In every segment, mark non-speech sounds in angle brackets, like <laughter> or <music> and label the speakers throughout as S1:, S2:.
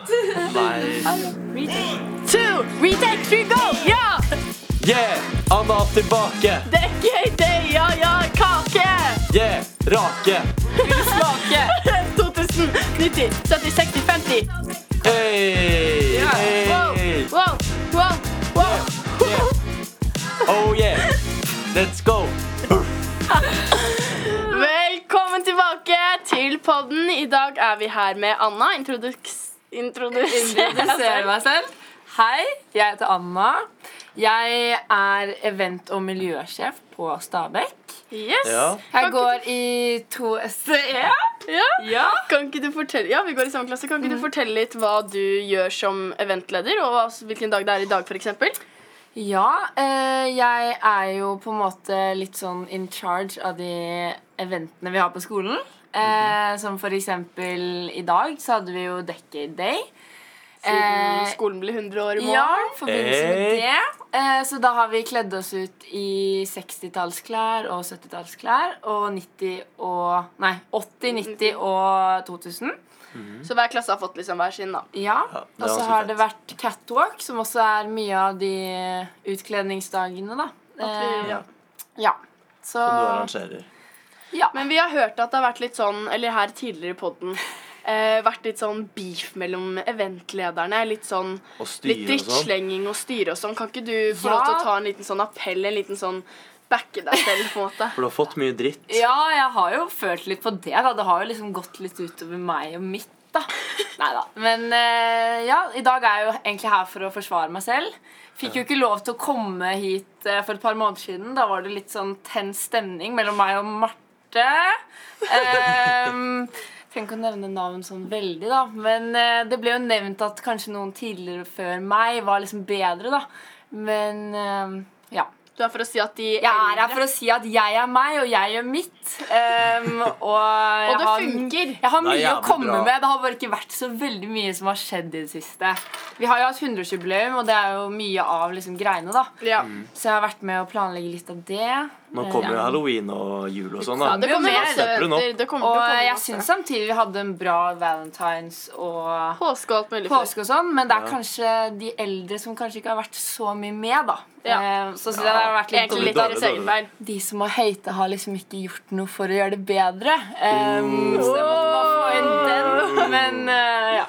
S1: Nei.
S2: Two, retake, three, go! Ja!
S1: Yeah! Anna tilbake.
S2: Det er gøy, det er ja, ja, kake!
S1: Yeah! Rake.
S2: Smake! <laughs> 2090, 70, 60, 50.
S1: Hey!
S2: Wow,
S1: hey.
S2: wow, wow, wow.
S1: Yeah. Oh yeah! Let's go!
S2: Velkommen tilbake til podden. I dag er vi her med Anna. Introduks... Introduser.
S3: Introduserer meg selv. Hei, jeg heter Anna. Jeg er event- og miljøsjef på Stabekk.
S2: Yes.
S1: Ja.
S2: Kan
S3: Jeg
S2: ikke-
S3: går i E. 2SE.
S2: Ja.
S3: Ja.
S2: Kan ikke du fortelle Ja, vi går i samme klasse. Kan ikke du fortelle litt hva du gjør som eventleder, og hva- hvilken dag det er i dag, f.eks.?
S3: Ja, eh, jeg er jo på en måte litt sånn in charge av de eventene vi har på skolen.
S2: Mhm.
S3: Eh, som for eksempel i dag så hadde vi jo Decade Day.
S2: Siden
S3: Eh,
S2: skolen blir 100 år i morgen.
S3: Ja, i forbindelse med
S1: Hey.
S3: det. Eh, Så da har vi kledd oss ut i 60-tallsklær og 70-tallsklær og 90 og Nei, 80, 90 og 2000.
S2: Så hver klasse har fått liksom hver sin, da.
S3: Ja.
S1: Ja, det er
S3: og så
S1: ganske
S3: har det
S1: fett.
S3: vært catwalk, som også er mye av de utkledningsdagene, da. Eh,
S2: Ja.
S3: ja. Så
S1: Som du arrangerer.
S3: ja.
S2: Men vi har hørt at det har vært litt sånn, eller her tidligere i podden, eh, vært litt sånn beef mellom eventlederne. Litt sånn
S1: Og styre
S2: litt
S1: og sånn.
S2: drittslenging og styre og sånn. Kan ikke du få
S3: Ja.
S2: lov til å ta en liten sånn appell, en liten sånn backe deg selv, på en måte?
S1: For du har fått mye dritt.
S3: ja, jeg har jo følt litt på det. da Det har jo liksom gått litt utover meg og mitt. da Neida. Men eh, ja, i dag er jeg jo egentlig her for å forsvare meg selv. Fikk jo ikke lov til å komme hit eh, for et par måneder siden. Da var det litt sånn tens stemning mellom meg og Marte. Um, <laughs> Trenger ikke å nevne navn sånn veldig, da. Men eh, det ble jo nevnt at kanskje noen tidligere før meg var liksom bedre, da. Men eh, ja.
S2: <laughs> Du er for å si at de
S3: Jeg er her for å si at jeg er meg, og jeg gjør mitt.
S2: <laughs>
S3: Ehm, og, jeg
S2: Og det
S3: har-
S2: funker.
S3: Jeg har
S1: Det er
S3: mye å
S1: jævlig
S3: komme
S1: bra.
S3: med. Det har bare ikke vært så veldig mye som har skjedd i det siste. Vi har jo hatt 100-årsjubileum, og det er jo mye av liksom greiene, da.
S2: ja.
S1: Mm.
S3: Så jeg har vært med å planlegge litt av det.
S1: Nå
S3: Eh,
S1: kommer jo
S3: ja.
S1: halloween og jul og sånn.
S2: ja,
S1: da
S2: det kommer
S3: mer
S2: masse
S1: søppel nå.
S2: eventer. Det kommer til å
S3: Og
S2: komme
S3: jeg
S2: masse.
S3: syns samtidig vi hadde en bra valentines og
S2: Påske og alt mulig. før.
S3: påske og sånn, men det er
S1: Ja.
S3: kanskje de eldre som kanskje ikke har vært så mye med, da.
S2: Ja.
S3: Eh, Så syns jeg det har vært litt
S2: Egentlig
S1: Dårlig,
S2: litt av
S1: dårlig,
S2: deres egen feil.
S3: de som har høyte, har liksom ikke gjort noe for å gjøre det bedre. Um, Så jeg måtte bare få inn den. Men eh, ja.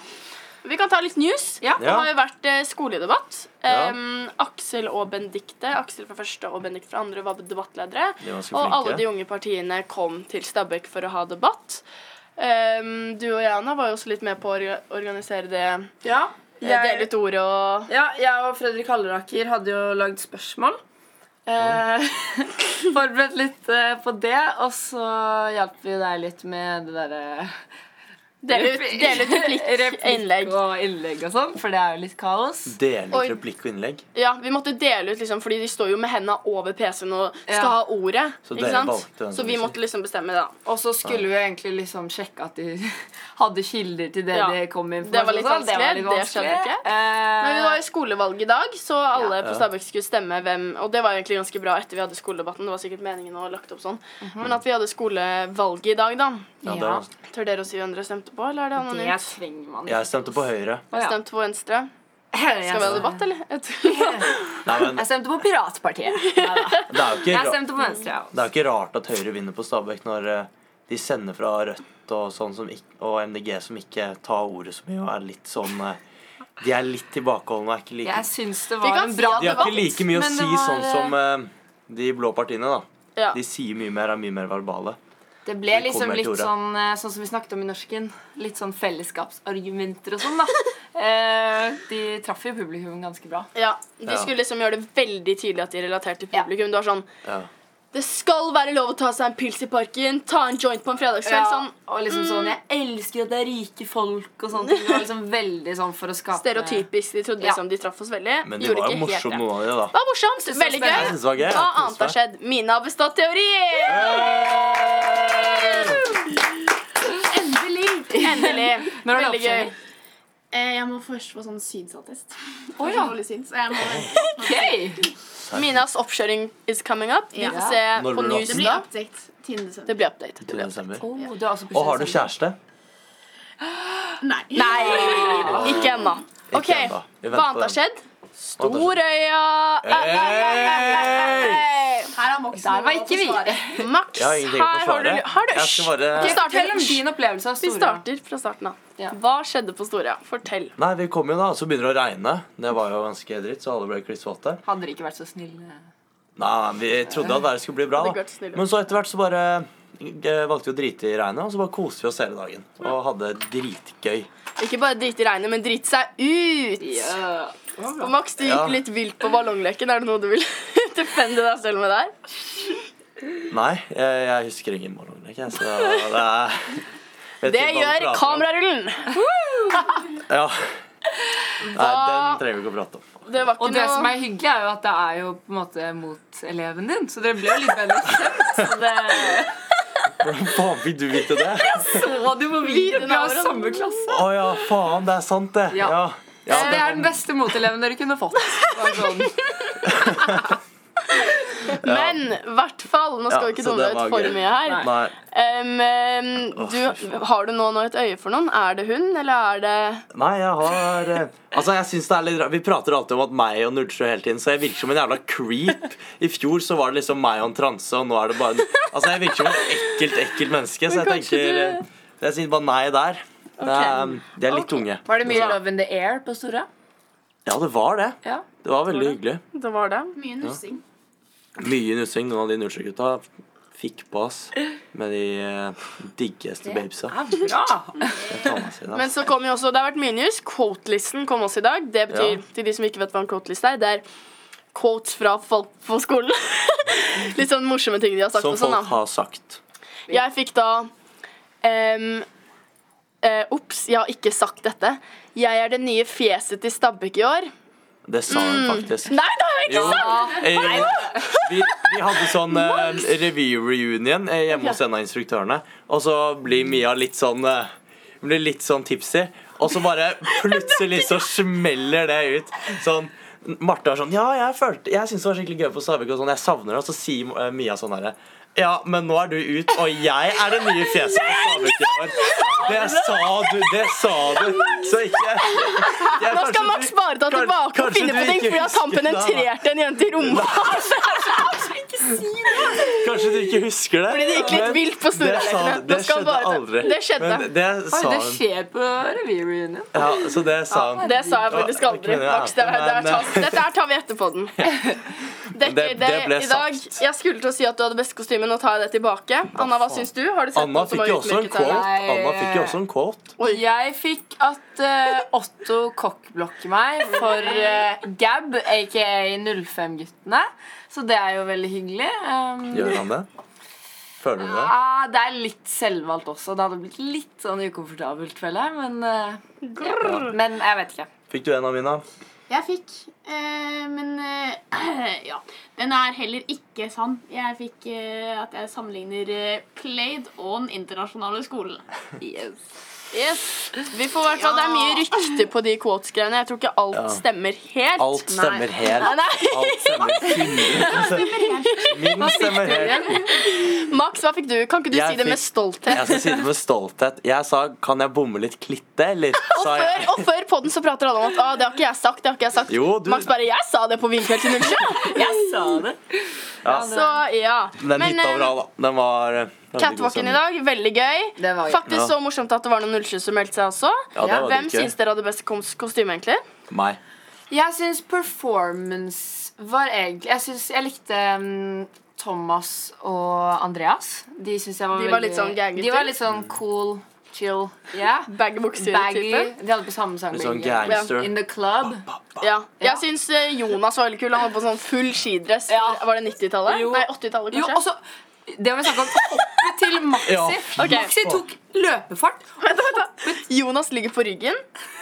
S2: Vi kan ta litt news.
S3: Ja.
S2: Det har jo vært eh, skoledebatt.
S1: Ja.
S2: Em, Aksel og Benedikte Aksel fra første og Benedikte fra andre var debattledere.
S1: De var ganske
S2: Og alle
S1: flinke.
S2: de unge partiene kom til Stabekk for å ha debatt. Em, du og jeg, Anna, var jo også litt med på å orga- organisere det.
S3: Ja,
S2: eh, Dele ut ordet og
S3: ja, jeg og Fredrik Halleraker hadde jo lagd spørsmål. Eh, <laughs> forberedt litt eh, på det, og så hjalp vi deg litt med det eh, derre
S2: Dele ut, dele ut
S3: <laughs>
S2: replikk, innlegg.
S3: og innlegg og sånn, for det er jo litt kaos.
S1: Dele
S2: Oi.
S1: ut replikk og innlegg.
S2: Ja, vi måtte dele ut, liksom, fordi de står jo med henda over PC-en og skal
S3: Ja.
S2: ha ordet.
S1: Så
S2: ikke
S1: dere
S2: sant?
S1: valgte hvem
S2: Så
S1: som
S2: vi
S1: skulle si.
S2: måtte liksom bestemme, da.
S3: Og så skulle vi jo egentlig liksom sjekke at de <laughs> hadde kilder til det
S2: Ja,
S3: de kom med.
S2: det var litt
S3: informasjon sånn. om.
S2: vanskelig, det skjedde ikke.
S3: Eh,
S2: Men det var jo skolevalg i dag, så alle
S1: Ja.
S2: på Stabæk skulle stemme hvem Og det var egentlig ganske bra etter vi hadde skoledebatten. Det var sikkert meningen å ha lagt opp sånn. Men at vi hadde skolevalget i dag, da.
S1: Ja, det
S3: Ja.
S1: var,
S2: Tør dere å si hvem dere stemte på, eller er det
S3: det
S2: anonymt?
S3: trenger man
S1: jeg stemte på Høyre.
S3: Å, ja.
S2: Stemte på Venstre. Skal
S3: Jeg
S2: vi ha debatt, eller? Jeg tror-
S1: Nei,
S2: <laughs>
S1: men
S3: Jeg stemte på Piratpartiet. Neida.
S1: det er jo ikke
S3: Jeg
S1: ra-
S3: stemte på Venstre.
S1: Det er jo ikke rart at Høyre vinner på Stabæk når eh, de sender fra Rødt og, sånn som ikk- og MDG som ikke tar ordet så mye og er litt sånn eh, De er litt tilbakeholdne og er ikke like
S3: Jeg syns det
S2: Vi
S3: var
S2: kan
S3: en
S2: si
S3: bra
S2: at
S1: De har ikke
S3: debatt.
S1: like mye å
S3: men det
S1: si
S3: var,
S1: sånn som eh, de blå partiene, da.
S2: ja.
S1: De sier mye mer, er mye mer verbale.
S3: Det ble
S1: Vi kommer
S3: liksom
S1: til
S3: litt
S1: ordet.
S3: sånn eh, Sånn som vi snakket om i norsken. Litt sånn fellesskapsargumenter og sånn, da. Eh, De traff jo publikum ganske bra.
S2: ja. De
S1: Ja.
S2: skulle liksom gjøre det veldig tydelig at de relaterte til publikum. Det var sånn
S1: Ja.
S2: Det skal være lov å ta seg en pils i parken, ta en joint på en fredagskveld.
S3: Ja,
S2: Sånn
S3: og liksom sånn Jeg elsker at det er rike folk og sånn. Det var liksom veldig sånn for å skape
S2: stereotypisk. De trodde
S3: Ja.
S2: liksom de traff oss veldig.
S1: Men de
S2: Gjorde
S1: var jo
S2: ikke helt
S1: morsomme,
S2: det.
S1: noen av de, da.
S2: Det var morsomt.
S3: det var
S2: Veldig
S3: spennende.
S1: Jeg
S2: gøy.
S1: synes det var gøy. jeg
S2: Hva
S1: synes
S2: annet har
S1: det var-
S2: skjedd? Mine har bestått teorien!
S3: Endelig!
S2: Endelig.
S3: Når
S2: Veldig
S3: er det
S2: gøy.
S3: oppkjøring?
S4: Eh, Jeg må først få sånn synsattest.
S3: Å,
S4: Først
S3: ja.
S4: må jeg syns, og jeg må-
S3: Gøy!
S2: Minas oppkjøring is coming up. Vi
S4: Ja.
S2: får se
S1: Når
S2: på
S1: blir det
S2: news
S1: oppdatert?
S4: Det blir
S2: da.
S4: oppdekt 10. desember.
S2: Det blir update. Det blir
S1: 22.
S3: altså
S2: update.
S1: desember.
S3: Å, du har også
S1: Og har du kjæreste?
S4: Nei.
S3: Nei!
S2: Ikke ennå.
S1: Ikke
S2: OK.
S1: ennå. Vi venter
S2: Hva
S1: på
S2: annet har
S1: den.
S2: skjedd? Storøya
S1: Hei!
S2: Hey!
S4: Her har Moxen
S3: Der var
S4: noe å
S3: ikke vi.
S4: forsvare.
S2: Max,
S1: Jeg har
S2: her
S1: ingenting å
S2: har du
S1: forsvare.
S2: har du,
S1: Jeg
S2: Hysj!
S1: skal bare
S2: Vi starter.
S3: Fortell om din opplevelse av
S2: Vi
S3: Storøya.
S2: starter fra starten av.
S3: Ja.
S2: Hva skjedde på Storøya? Fortell.
S1: Nei, vi kom jo da, så begynner det å regne. Det var jo ganske dritt, så alle ble klissvåte.
S3: Hadde dere ikke vært så snille
S1: Nei, vi trodde at været skulle bli bra,
S2: Hadde ikke
S1: da.
S2: vært så snille.
S1: Men så etter hvert så bare eh, valgte vi å drite i regnet, og så bare koste vi oss hele dagen. Og hadde dritgøy.
S2: Ikke bare drite i regnet, men drite seg ut. Og Max, du gikk
S1: Ja.
S2: litt vilt på ballongleken. Er det noe du vil <laughs> defende deg selv med der?
S1: Nei, jeg, jeg husker ingen morgenlek, jeg, så det er Vet
S2: Det
S1: ikke hva vi
S2: gjør
S1: prater om.
S2: kamerarullen.
S1: Ja. Nei,
S2: Hva-
S1: den trenger vi ikke å prate om.
S2: Det var
S3: Og
S2: ikke
S3: det som
S2: noe
S3: er hyggelig, er jo at det er jo på en måte mot eleven din, så dere ble jo litt bedre kjent. <laughs> så det-
S1: Hvordan faen fikk du vite det?
S3: Så du på videoen? Vi har jo samme klasse.
S1: Å ja, faen, det er sant, det.
S3: Ja.
S1: Ja. Ja,
S3: det er den beste moteleven dere kunne fått. Bare sånn.
S2: Men i hvert fall, nå skal
S1: Ja,
S2: vi ikke
S1: så
S2: dumme
S1: det
S2: deg ut
S1: var
S2: for
S1: gøy.
S2: mye her.
S1: Nei.
S2: Em, em,
S1: Å,
S2: du,
S1: fy faen.
S2: har du nå nå et øye for noen? Er det hun, eller er det
S1: Nei, jeg har eh, Altså, jeg synes det er litt rart Vi prater alltid om at meg og Nulsjø hele tiden, så jeg virker som en jævla creep. I fjor så var det liksom meg og en transe, og nå er det bare Altså, jeg virker som et ekkelt, ekkelt menneske, så jeg
S2: Men kanskje
S1: tenker eh, Jeg sier bare nei der. Det er, um, de er litt tunge.
S3: Var det mye Love in the Air på Stora?
S1: Ja, det var det.
S3: Ja.
S1: Det var veldig hyggelig.
S2: Det var det.
S4: Mye nussing.
S1: Mye nussing. Noen av de Nulsjø-gutta fikk på oss med de eh, diggeste babesa.
S3: Det er bra.
S1: Jeg tar meg siden,
S2: Men
S1: ass.
S2: så kom jo også, det har vært mye news. Quotelisten kom også i dag. Det betyr,
S1: Ja.
S2: til de som ikke vet hva en quoteliste er, det er quotes fra folk på skolen. <laughs> Litt sånn morsomme ting de har sagt.
S1: Som
S2: og sånn, da.
S1: folk har sagt.
S2: Jeg fikk da ehm, eh, Ops, jeg har ikke sagt dette. Jeg er det nye fjeset til Stabæk i år.
S1: Det sa hun faktisk.
S2: Nei, Mm. det har jeg ikke!
S1: Jo, eh, vi, vi hadde sånn eh, revy-reunion eh, hjemme hos en av instruktørene, og så blir Mia litt sånn eh, Blir litt sånn tipsy, og så bare plutselig så smeller det ut. Sånn Marte var sånn Ja, jeg følte Jeg syns det var skikkelig gøy på Stabekk, og sånn, jeg savner det. Og så sier eh, Mia sånn herre ja, men nå er du ut, og jeg er det nye fjeset på Stabekk i år. Det sa du, det sa du. Så ikke jeg-
S2: Nå skal
S1: kanskje
S2: Max
S1: du-
S2: bare ta
S1: kan-
S2: tilbake og
S1: kanskje
S2: finne
S1: du
S2: på ting
S1: ikke
S2: fordi at han
S1: husker det, da.
S2: penetrerte en jente i rumpa.
S1: Kanskje du ikke husker det?
S2: Fordi det gikk litt
S1: men
S2: vilt på
S1: det sa-
S2: Storalekene.
S1: Det
S2: Nå skal han
S1: skjedde
S2: bare ta-
S1: aldri.
S2: Det skjedde.
S1: Men det sa
S3: Oi, det
S1: han.
S3: skjer på revy-reunion.
S1: Ja, så det sa han.
S2: Det sa jeg faktisk
S1: Ja,
S2: aldri.
S1: det kunne jeg
S2: Max, det,
S1: hatt,
S2: det er
S1: men, eh,
S2: tas, dette her tar vi etterpå
S1: <laughs>
S2: den. Dekker det,
S1: Det- det ble
S2: i dag.
S1: sagt.
S2: Jeg skulle til å si at du hadde best kostyme, nå tar jeg det tilbake. Anna, hva
S1: faen.
S2: syns du? Har du sett
S1: Anna
S2: noen som
S1: fikk
S2: har
S1: jo også en
S2: utmerket seg?
S1: quote.
S3: Nei.
S1: Anna fikk jo også en quote.
S3: Jeg fikk at eh, Otto kokkblokker meg for eh, Gab, aka 05-guttene. Så det er jo veldig hyggelig. Um,
S1: Gjør han det? Føler du det?
S3: ah, det er litt selvvalgt også. Det hadde blitt litt sånn ukomfortabelt, føler jeg. Men, eh, ja. men jeg vet ikke.
S1: Fikk du en av mine?
S4: Jeg fikk, eh, men eh, <clears throat> ja. Den er heller ikke sann. Jeg fikk eh, at jeg sammenligner eh, Plaid og den internasjonale skolen.
S2: Yes. Vi får i hvert fall, Det er mye rykte på de quotes-greiene. Jeg tror ikke alt
S1: Ja.
S2: stemmer helt.
S1: Alt stemmer
S2: Nei,
S1: helt.
S2: nei.
S1: Alt stemmer 100 Min stemmer helt.
S2: Max, hva fikk du? Kan ikke du si
S1: Jeg
S2: det
S1: fikk-
S2: med stolthet?
S1: Jeg skal si det med stolthet. Jeg sa 'kan jeg bomme litt klitte', eller? Sa
S2: Før,
S1: jeg.
S2: og før podden så prater alle om at ah, det har ikke jeg sagt. det har ikke jeg sagt
S1: Jo, du-
S2: Max bare 'jeg sa det på Vinkveld til Nullsjø'.
S3: Jeg sa det.
S1: Ja,
S2: Så ja.
S1: den
S2: Men,
S1: hitta
S2: eh,
S1: bra, da. Den var eh, veldig god
S2: Catwalken i dag,
S1: stemning.
S2: veldig gøy.
S3: Det var gøy.
S2: Faktisk
S1: Ja.
S2: så morsomt at det var noen nullsjø som meldte seg også.
S1: Ja, det var
S2: Hvem
S1: dritgøy.
S2: syns dere hadde best kos- kostyme, egentlig?
S1: Meg.
S3: Jeg syns performance var egentlig Jeg syns jeg likte mm, Thomas og Andreas. De syns jeg var
S2: De
S3: veldig
S2: var litt sånn ganggutter.
S3: De var litt sånn cool, chill. Yeah. Baggy.
S2: Bagbukser-type.
S3: De hadde på samme sang.
S1: Litt sånn
S3: begge.
S1: gangster.
S3: In the club.
S2: Ja.
S3: Ja.
S2: Jeg syns eh, Jonas var veldig kul. Han hadde på sånn full skidress.
S3: Ja.
S2: Var det 90-tallet?
S3: Jo.
S2: Nei, 80-tallet,
S3: Jo,
S2: kanskje.
S3: og så Det må vi snakke om. Hoppet til Maxi.
S1: Ja.
S2: Ok.
S3: Maxi tok løpefart.
S2: Jonas ligger på ryggen.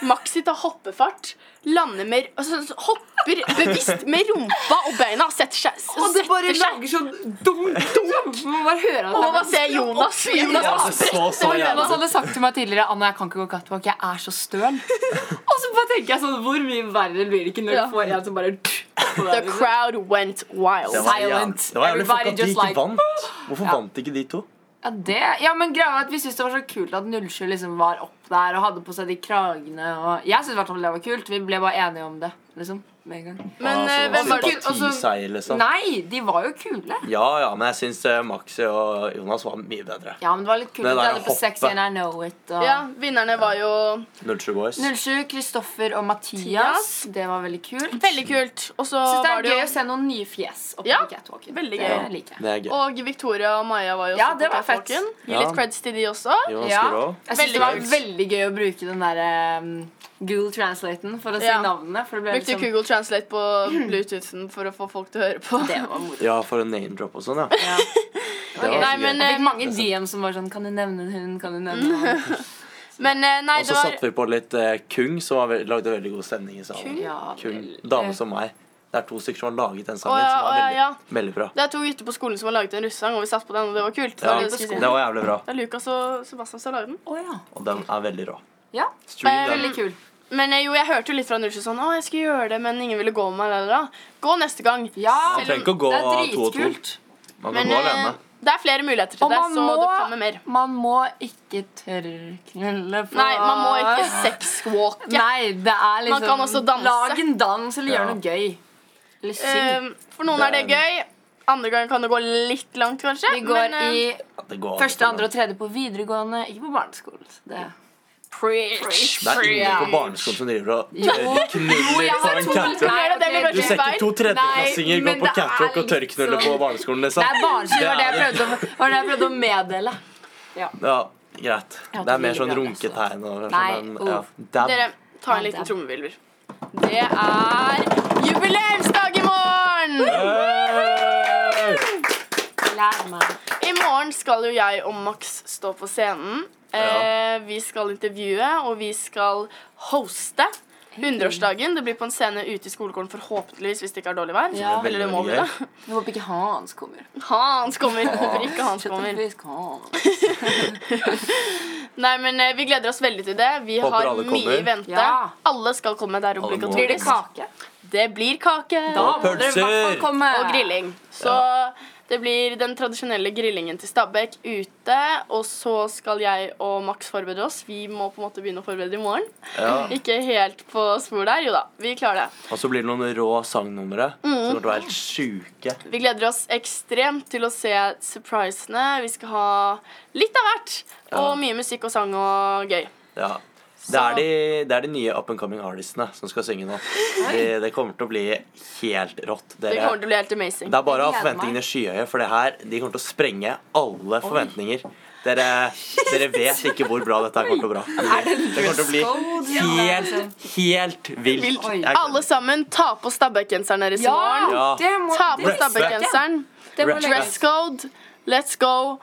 S2: Maxi tar hoppefart. Lander med altså, Hopper bevisst med rumpa og beina. Setter seg.
S3: Og det bare
S2: setter seg.
S3: lager sånn dunk, <laughs> dunk. Man bare hører
S2: Og hva
S3: at det er
S2: ser Jonas? Jonas
S1: Ja, det så så
S2: var
S1: jævlig
S3: Jonas hadde sagt til meg tidligere Anna, jeg kan ikke gå catwalk, jeg er så <laughs> støl. Og så bare tenker jeg sånn, Hvor mye verre blir det ikke når
S2: Ja.
S3: du får en som bare <laughs> på
S2: The
S3: deg, liksom?
S2: crowd went wild.
S1: Det var
S3: Silent.
S1: jæv- Det var jævlig fuck at
S3: Everybody
S1: de
S3: just
S1: ikke
S3: like-
S1: vant. Hvorfor vant ikke de to?
S3: ja, det, ja, men greia er at Vi syntes det var så kult at 07 liksom var opp opp der og hadde på seg de kragene. Og jeg syntes i hvert fall det var kult. Vi ble bare enige om det. liksom, med en gang.
S2: Men
S1: Ah,
S2: eh, hvem var det
S1: Sympatiseier, liksom.
S3: Nei, de var jo kule.
S1: Ja, ja, men jeg syns eh, Maxi og Jonas var mye bedre.
S3: Ja, men det var litt kult
S1: Det
S3: at de
S1: der
S3: hadde på
S1: hoppet.
S3: Sexy and I Know It. Og...
S2: Ja, vinnerne var jo
S1: 07 Boys.
S3: 07, Kristoffer og Mathias.
S2: Mathias.
S3: Det var veldig kult.
S2: veldig kult. Og så
S3: Syns det
S2: var
S3: er
S2: det
S3: gøy å
S2: jo
S3: se noen nye fjes oppe
S2: Ja,
S3: på catwalken.
S2: veldig
S3: det
S2: gøy.
S3: liker jeg.
S1: Det er gøy.
S2: Og Victoria og Maja var jo
S3: Ja,
S2: også
S3: det
S2: på
S3: var fett.
S2: catwalken. Gi
S1: Ja.
S2: litt creds til de også.
S1: Jonas
S3: Ja.
S1: Guro.
S3: Jeg synes
S2: Veldig
S3: det var
S2: kult.
S3: veldig gøy å bruke den der um, Google translaten for å si
S2: Ja.
S3: navnene. For det ble
S2: Brukte
S3: liksom
S2: Google Translate på Bluetoothen for å få folk til å høre
S3: <laughs>
S2: på.
S3: Det var moro.
S1: Ja, for en name-drop og sånn, ja.
S3: Ja.
S1: Det var
S2: Nei,
S1: så
S2: men, eh,
S1: gøy.
S3: Jeg fikk mange DM som var sånn Kan du nevne hun? Kan du nevne han?
S2: <laughs> Men eh, nei,
S1: Og
S2: det
S1: så
S2: var
S1: satte vi på litt eh, Kung, som var ve- lagde veldig god stemning i salen.
S3: Ja,
S1: Kung.
S3: vel.
S1: Dame som meg. Det er to stykker som har laget den
S2: Eh. Å,
S1: sangen,
S2: ja,
S1: som
S2: å,
S1: var
S2: ja,
S1: veldig,
S2: ja.
S1: veldig bra.
S2: Det er to gutter på skolen som har laget en russesang, og vi satt på den, og det var kult.
S1: Ja,
S2: det, var det, jeg skulle si.
S1: det var jævlig bra,
S2: det er Lukas og Sebastian som har laget den.
S3: Å ja.
S1: og den er veldig rå.
S3: ja.
S1: Stream
S2: Eh,
S1: den.
S3: Veldig kul.
S2: Men eh, jo, jeg hørte jo litt fra Nusje sånn Å, jeg skulle gjøre det, men ingen ville gå med meg. la, la, la». Gå neste gang.
S3: Ja,
S1: Man trenger ikke å gå
S3: det er
S1: to og to.
S3: dritkult.
S1: Man kan
S2: Men
S1: gå
S2: eh,
S1: alene.
S2: det er flere muligheter til
S3: Og
S2: det, så
S3: man
S2: det
S3: må-
S2: kommer mer.
S3: Man må ikke tørrknulle på
S2: Nei, man må ikke sexwalke.
S3: Nei, det er liksom
S2: Man kan også danse.
S3: Lag en dans eller gjør
S1: Ja.
S3: noe gøy. Eller syng.
S2: Eh, for noen er det
S1: Det er-
S2: gøy. Andre gang kan det gå litt langt, kanskje.
S3: Vi går
S2: men, eh,
S3: i
S1: Ja, det går an å
S3: første,
S1: ta
S3: andre
S1: den.
S3: og tredje på videregående, ikke på barneskolen. Så det.
S2: preach.
S1: Det er ingen på barneskolen som driver og tørrknuller
S3: jeg har
S1: foran
S3: to-
S1: catwalk.
S2: Gjør
S3: Nei,
S2: det, det
S3: ok,
S2: blir
S1: Du
S2: kanskje
S1: ser ikke
S2: feil.
S1: to
S3: Nei,
S1: tredjeklassinger gå
S3: men
S1: på
S3: det er
S1: catwalk og tørrknulle
S3: liksom-
S1: på barneskolen,
S3: Det
S1: liksom.
S3: er barneskolen, det var det jeg
S1: Det
S3: prøvde å, var det jeg prøvde å meddele.
S1: Ja, greit.
S3: Jeg har
S1: Det
S3: ikke
S1: er mer sånn
S3: videregående,
S1: runketegn og
S3: altså. Nei, oh.
S1: sånn.
S3: uff.
S1: men, Ja. Dab.
S2: eh, Dere, ta en
S3: Ja,
S2: liten
S3: det er-
S2: trommevirvel. Det er jubileumsdag i morgen!
S1: Hey!
S3: Lær meg.
S2: I morgen skal jo jeg og Max stå på scenen. Eh,
S1: Ja.
S2: vi skal intervjue, og vi skal hoste. 100-årsdagen. Det blir på en scene ute i skolegården, forhåpentligvis, hvis det ikke er dårlig vær.
S3: Ja.
S2: Eller det må bli
S1: Veldig
S2: det.
S1: gøy.
S3: Jeg håper ikke Hans kommer.
S2: Hans kommer. Håper ikke Hans kommer.
S3: Kjøttfisk, Hans.
S2: Nei, men eh, vi gleder oss veldig til det. Vi
S1: Håper
S2: har
S1: alle kommer.
S2: mye i vente.
S3: Ja.
S2: Alle skal komme. Det er
S1: Alle må.
S3: Blir det
S2: obligatorisk.
S3: kake?
S2: Det blir kake.
S3: Da må dere i hvert fall
S1: pølser.
S3: komme.
S2: Og grilling. Så det blir den tradisjonelle grillingen til Stabæk ute. Og så skal jeg og Max forberede oss. Vi må på en måte begynne å forberede i morgen.
S1: Ja.
S2: <laughs> Ikke helt på spor der. Jo da, vi klarer det.
S1: Og så blir det noen rå sangnumre som
S3: Mm.
S1: kommer til å være helt sjuke.
S2: Vi gleder oss ekstremt til å se surprisene. Vi skal ha litt av hvert. Og
S1: Ja.
S2: mye musikk og sang og gøy.
S1: Ja. Det er, de, det er de nye up and coming artistene som skal synge nå. De, det kommer til å bli helt rått.
S2: Det
S1: Dere,
S2: kommer til å bli helt amazing.
S1: det er bare å ha
S3: Jeg gleder meg.
S1: forventningene skyhøye, for det her, de kommer til å sprenge alle forventninger. Dere, dere vet ikke hvor bra dette her kommer til å bli. Det kommer til å bli helt, helt vilt.
S3: liksom Vilt.
S1: Jeg-
S2: Alle sammen, ta på Stabæk-genseren deres i
S3: Ja,
S2: morgen.
S1: Ja.
S3: det må
S2: Ta på
S3: det-
S2: Stabæk-genseren.
S3: det må
S1: Dress
S2: Dress
S3: legges.
S2: code. Let's go.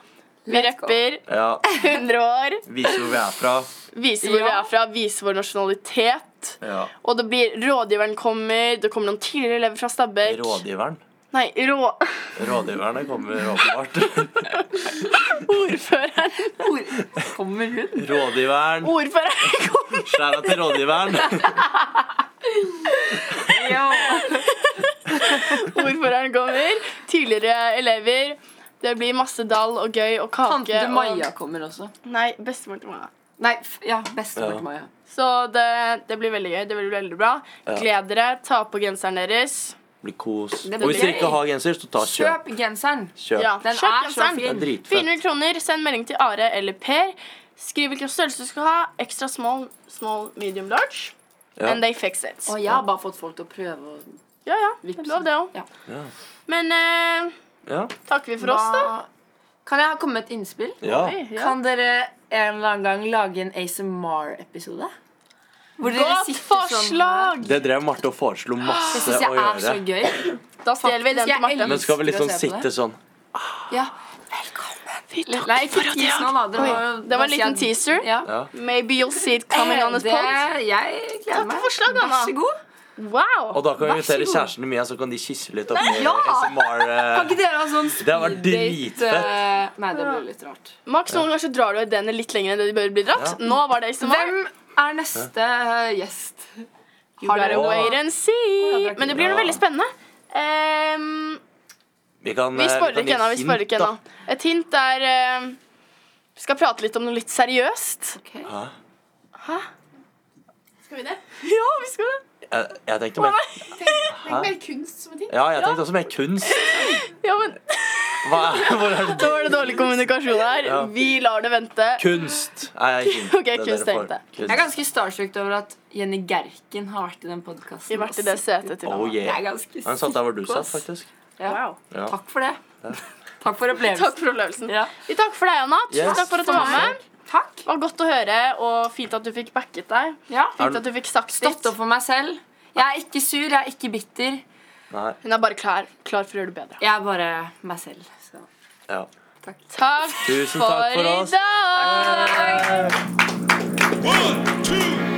S2: Vi
S3: Let's go.
S2: rapper.
S1: Ja,
S2: 100 år.
S1: Vise hvor vi er fra.
S2: Vise hvor vi
S3: Ja.
S2: er fra, vise vår nasjonalitet.
S1: Ja.
S2: Og det blir Rådgiveren kommer, det kommer noen tidligere elever fra Stabæk.
S1: Rådgiveren.
S2: Nei, rå...
S1: Rådgiverne kommer åpenbart.
S2: Ordføreren.
S3: Hvor kommer hun?
S1: Rådgiveren.
S2: Ordføreren kommer.
S1: Skjæra til rådgiveren.
S2: Ordføreren kommer. Tidligere elever. Det blir masse dall og gøy og kake.
S3: Tante
S2: og-
S3: Maja kommer også.
S2: Nei, bestemor til Maja.
S3: Nei, f- ja, bestemor
S1: Ja.
S3: til Maja.
S2: Så det, det blir veldig gøy. Det blir veldig bra.
S1: Ja.
S2: Gled dere. Ta på genseren deres.
S1: Blir kos.
S3: Det
S1: Og hvis
S3: blir
S1: dere ikke
S3: gøy.
S1: har genser, så ta kjøp.
S3: Kjøp genseren.
S1: Kjøp.
S2: Ja.
S3: Den
S2: Kjøp
S3: er så
S2: genseren.
S1: Det er
S3: fin.
S1: dritfett.
S2: 400 kroner. Send melding til Are eller Per. Skriv hvilken størrelse du skal ha. Ekstra small, small, medium, large.
S1: Ja.
S2: And they fix it.
S3: Og jeg har bare fått folk til å prøve å
S2: Ja, ja. Det er lov, det òg.
S3: Ja.
S1: Ja.
S2: Men eh,
S1: Ja.
S2: takker vi for oss, da.
S3: Hva- Kan jeg komme med et innspill?
S1: Ja.
S2: Oi, ja.
S3: Kan dere en eller annen gang lage en ASMR-episode? Hvor sånn
S2: Godt forslag!
S1: Det drev Marte og foreslo
S3: Det
S1: masse
S3: syns jeg
S1: å
S3: er så
S1: gjøre.
S3: gøy.
S2: Da stjeler vi
S3: Faktisk,
S2: den til
S3: jeg
S2: Marte.
S1: Men skal vi liksom
S3: Elsker å se på
S1: sitte sånn
S3: Ja. Velkommen. Nei, ikke tis nå, da. Dere må jo-
S2: Det var en
S3: si
S2: liten
S3: at-
S2: teaser.
S3: Ja.
S1: Ja.
S2: Maybe you'll see it coming on this
S3: Eh, Det-
S2: pod.
S3: Jeg gleder
S2: Takk
S3: meg.
S2: for forslaget, Anna.
S3: Vær så god.
S1: Og
S2: Wow!
S1: da kan vi
S3: Vær så
S1: invitere
S3: god.
S1: kjæresten min, så kan de kysse litt oppi
S3: Nei, ja!
S1: ASMR.
S3: Kan ikke
S1: eh,
S3: dere ha sånn
S1: Det hadde vært
S3: speeddate,
S1: dritfett.
S3: eh, Nei, det ble litt rart.
S2: Max, noen ganger så drar du ideene litt lenger enn det de bør bli dratt.
S1: Ja.
S2: Nå var det ASMR.
S3: Hvem er neste eh, gjest?
S2: Har dere
S1: Åh.
S2: wait and
S3: det
S2: see?
S3: er ikke
S2: Men det blir noe
S1: bra.
S2: veldig spennende. Ehm,
S1: Vi kan
S2: vi
S1: eh,
S2: spoiler
S1: kan gi
S2: ikke ennå. Vi
S1: hint,
S2: spoiler ikke
S1: da.
S2: ennå. Et hint er ehm, Vi skal prate litt om noe litt seriøst.
S3: Ok.
S1: Hæ?
S2: Hæ?
S4: Skal vi det?
S2: <laughs> Ja, vi skal det.
S1: Jeg, jeg tenkte mer
S4: Tenk mer kunst som en ting.
S1: Ja, jeg tenkte også mer kunst.
S2: Ja, men
S1: Hva er, <laughs> hvor er det?
S2: Da var det dårlig kommunikasjon her.
S1: Ja.
S2: Vi lar det vente.
S1: Kunst er jeg ikke
S2: Ok, kunst tenkte jeg.
S3: Jeg er ganske starstruck over at Jenny Gerken har vært i den podkasten.
S2: Vi har vært i det setet til
S1: Oh
S2: nå.
S3: Jeg er
S1: yeah.
S3: ganske
S1: Den satt der hvor du
S3: sick,
S1: satt,
S3: ass.
S1: faktisk.
S3: Ja.
S2: Wow.
S1: Ja.
S3: Takk for det. Takk for opplevelsen.
S2: Takk for opplevelsen.
S3: Ja.
S2: Vi takker for deg, Anna. Tusen
S1: Yes.
S2: takk for at du var med.
S3: Takk.
S2: Det var godt å høre, og fint at du fikk backet deg.
S3: Ja.
S1: Er
S2: Fint
S1: det-
S2: at du fikk sagt
S3: Stått
S2: ditt.
S3: opp for meg selv. Jeg er ikke sur, jeg er ikke bitter.
S1: Nei,
S2: Hun er bare klar, klar for å gjøre det bedre.
S3: Jeg er bare meg selv. Så.
S1: ja.
S2: Takk
S1: Tusen
S2: for
S1: takk for
S2: i
S1: oss.
S2: dag!
S5: One, two,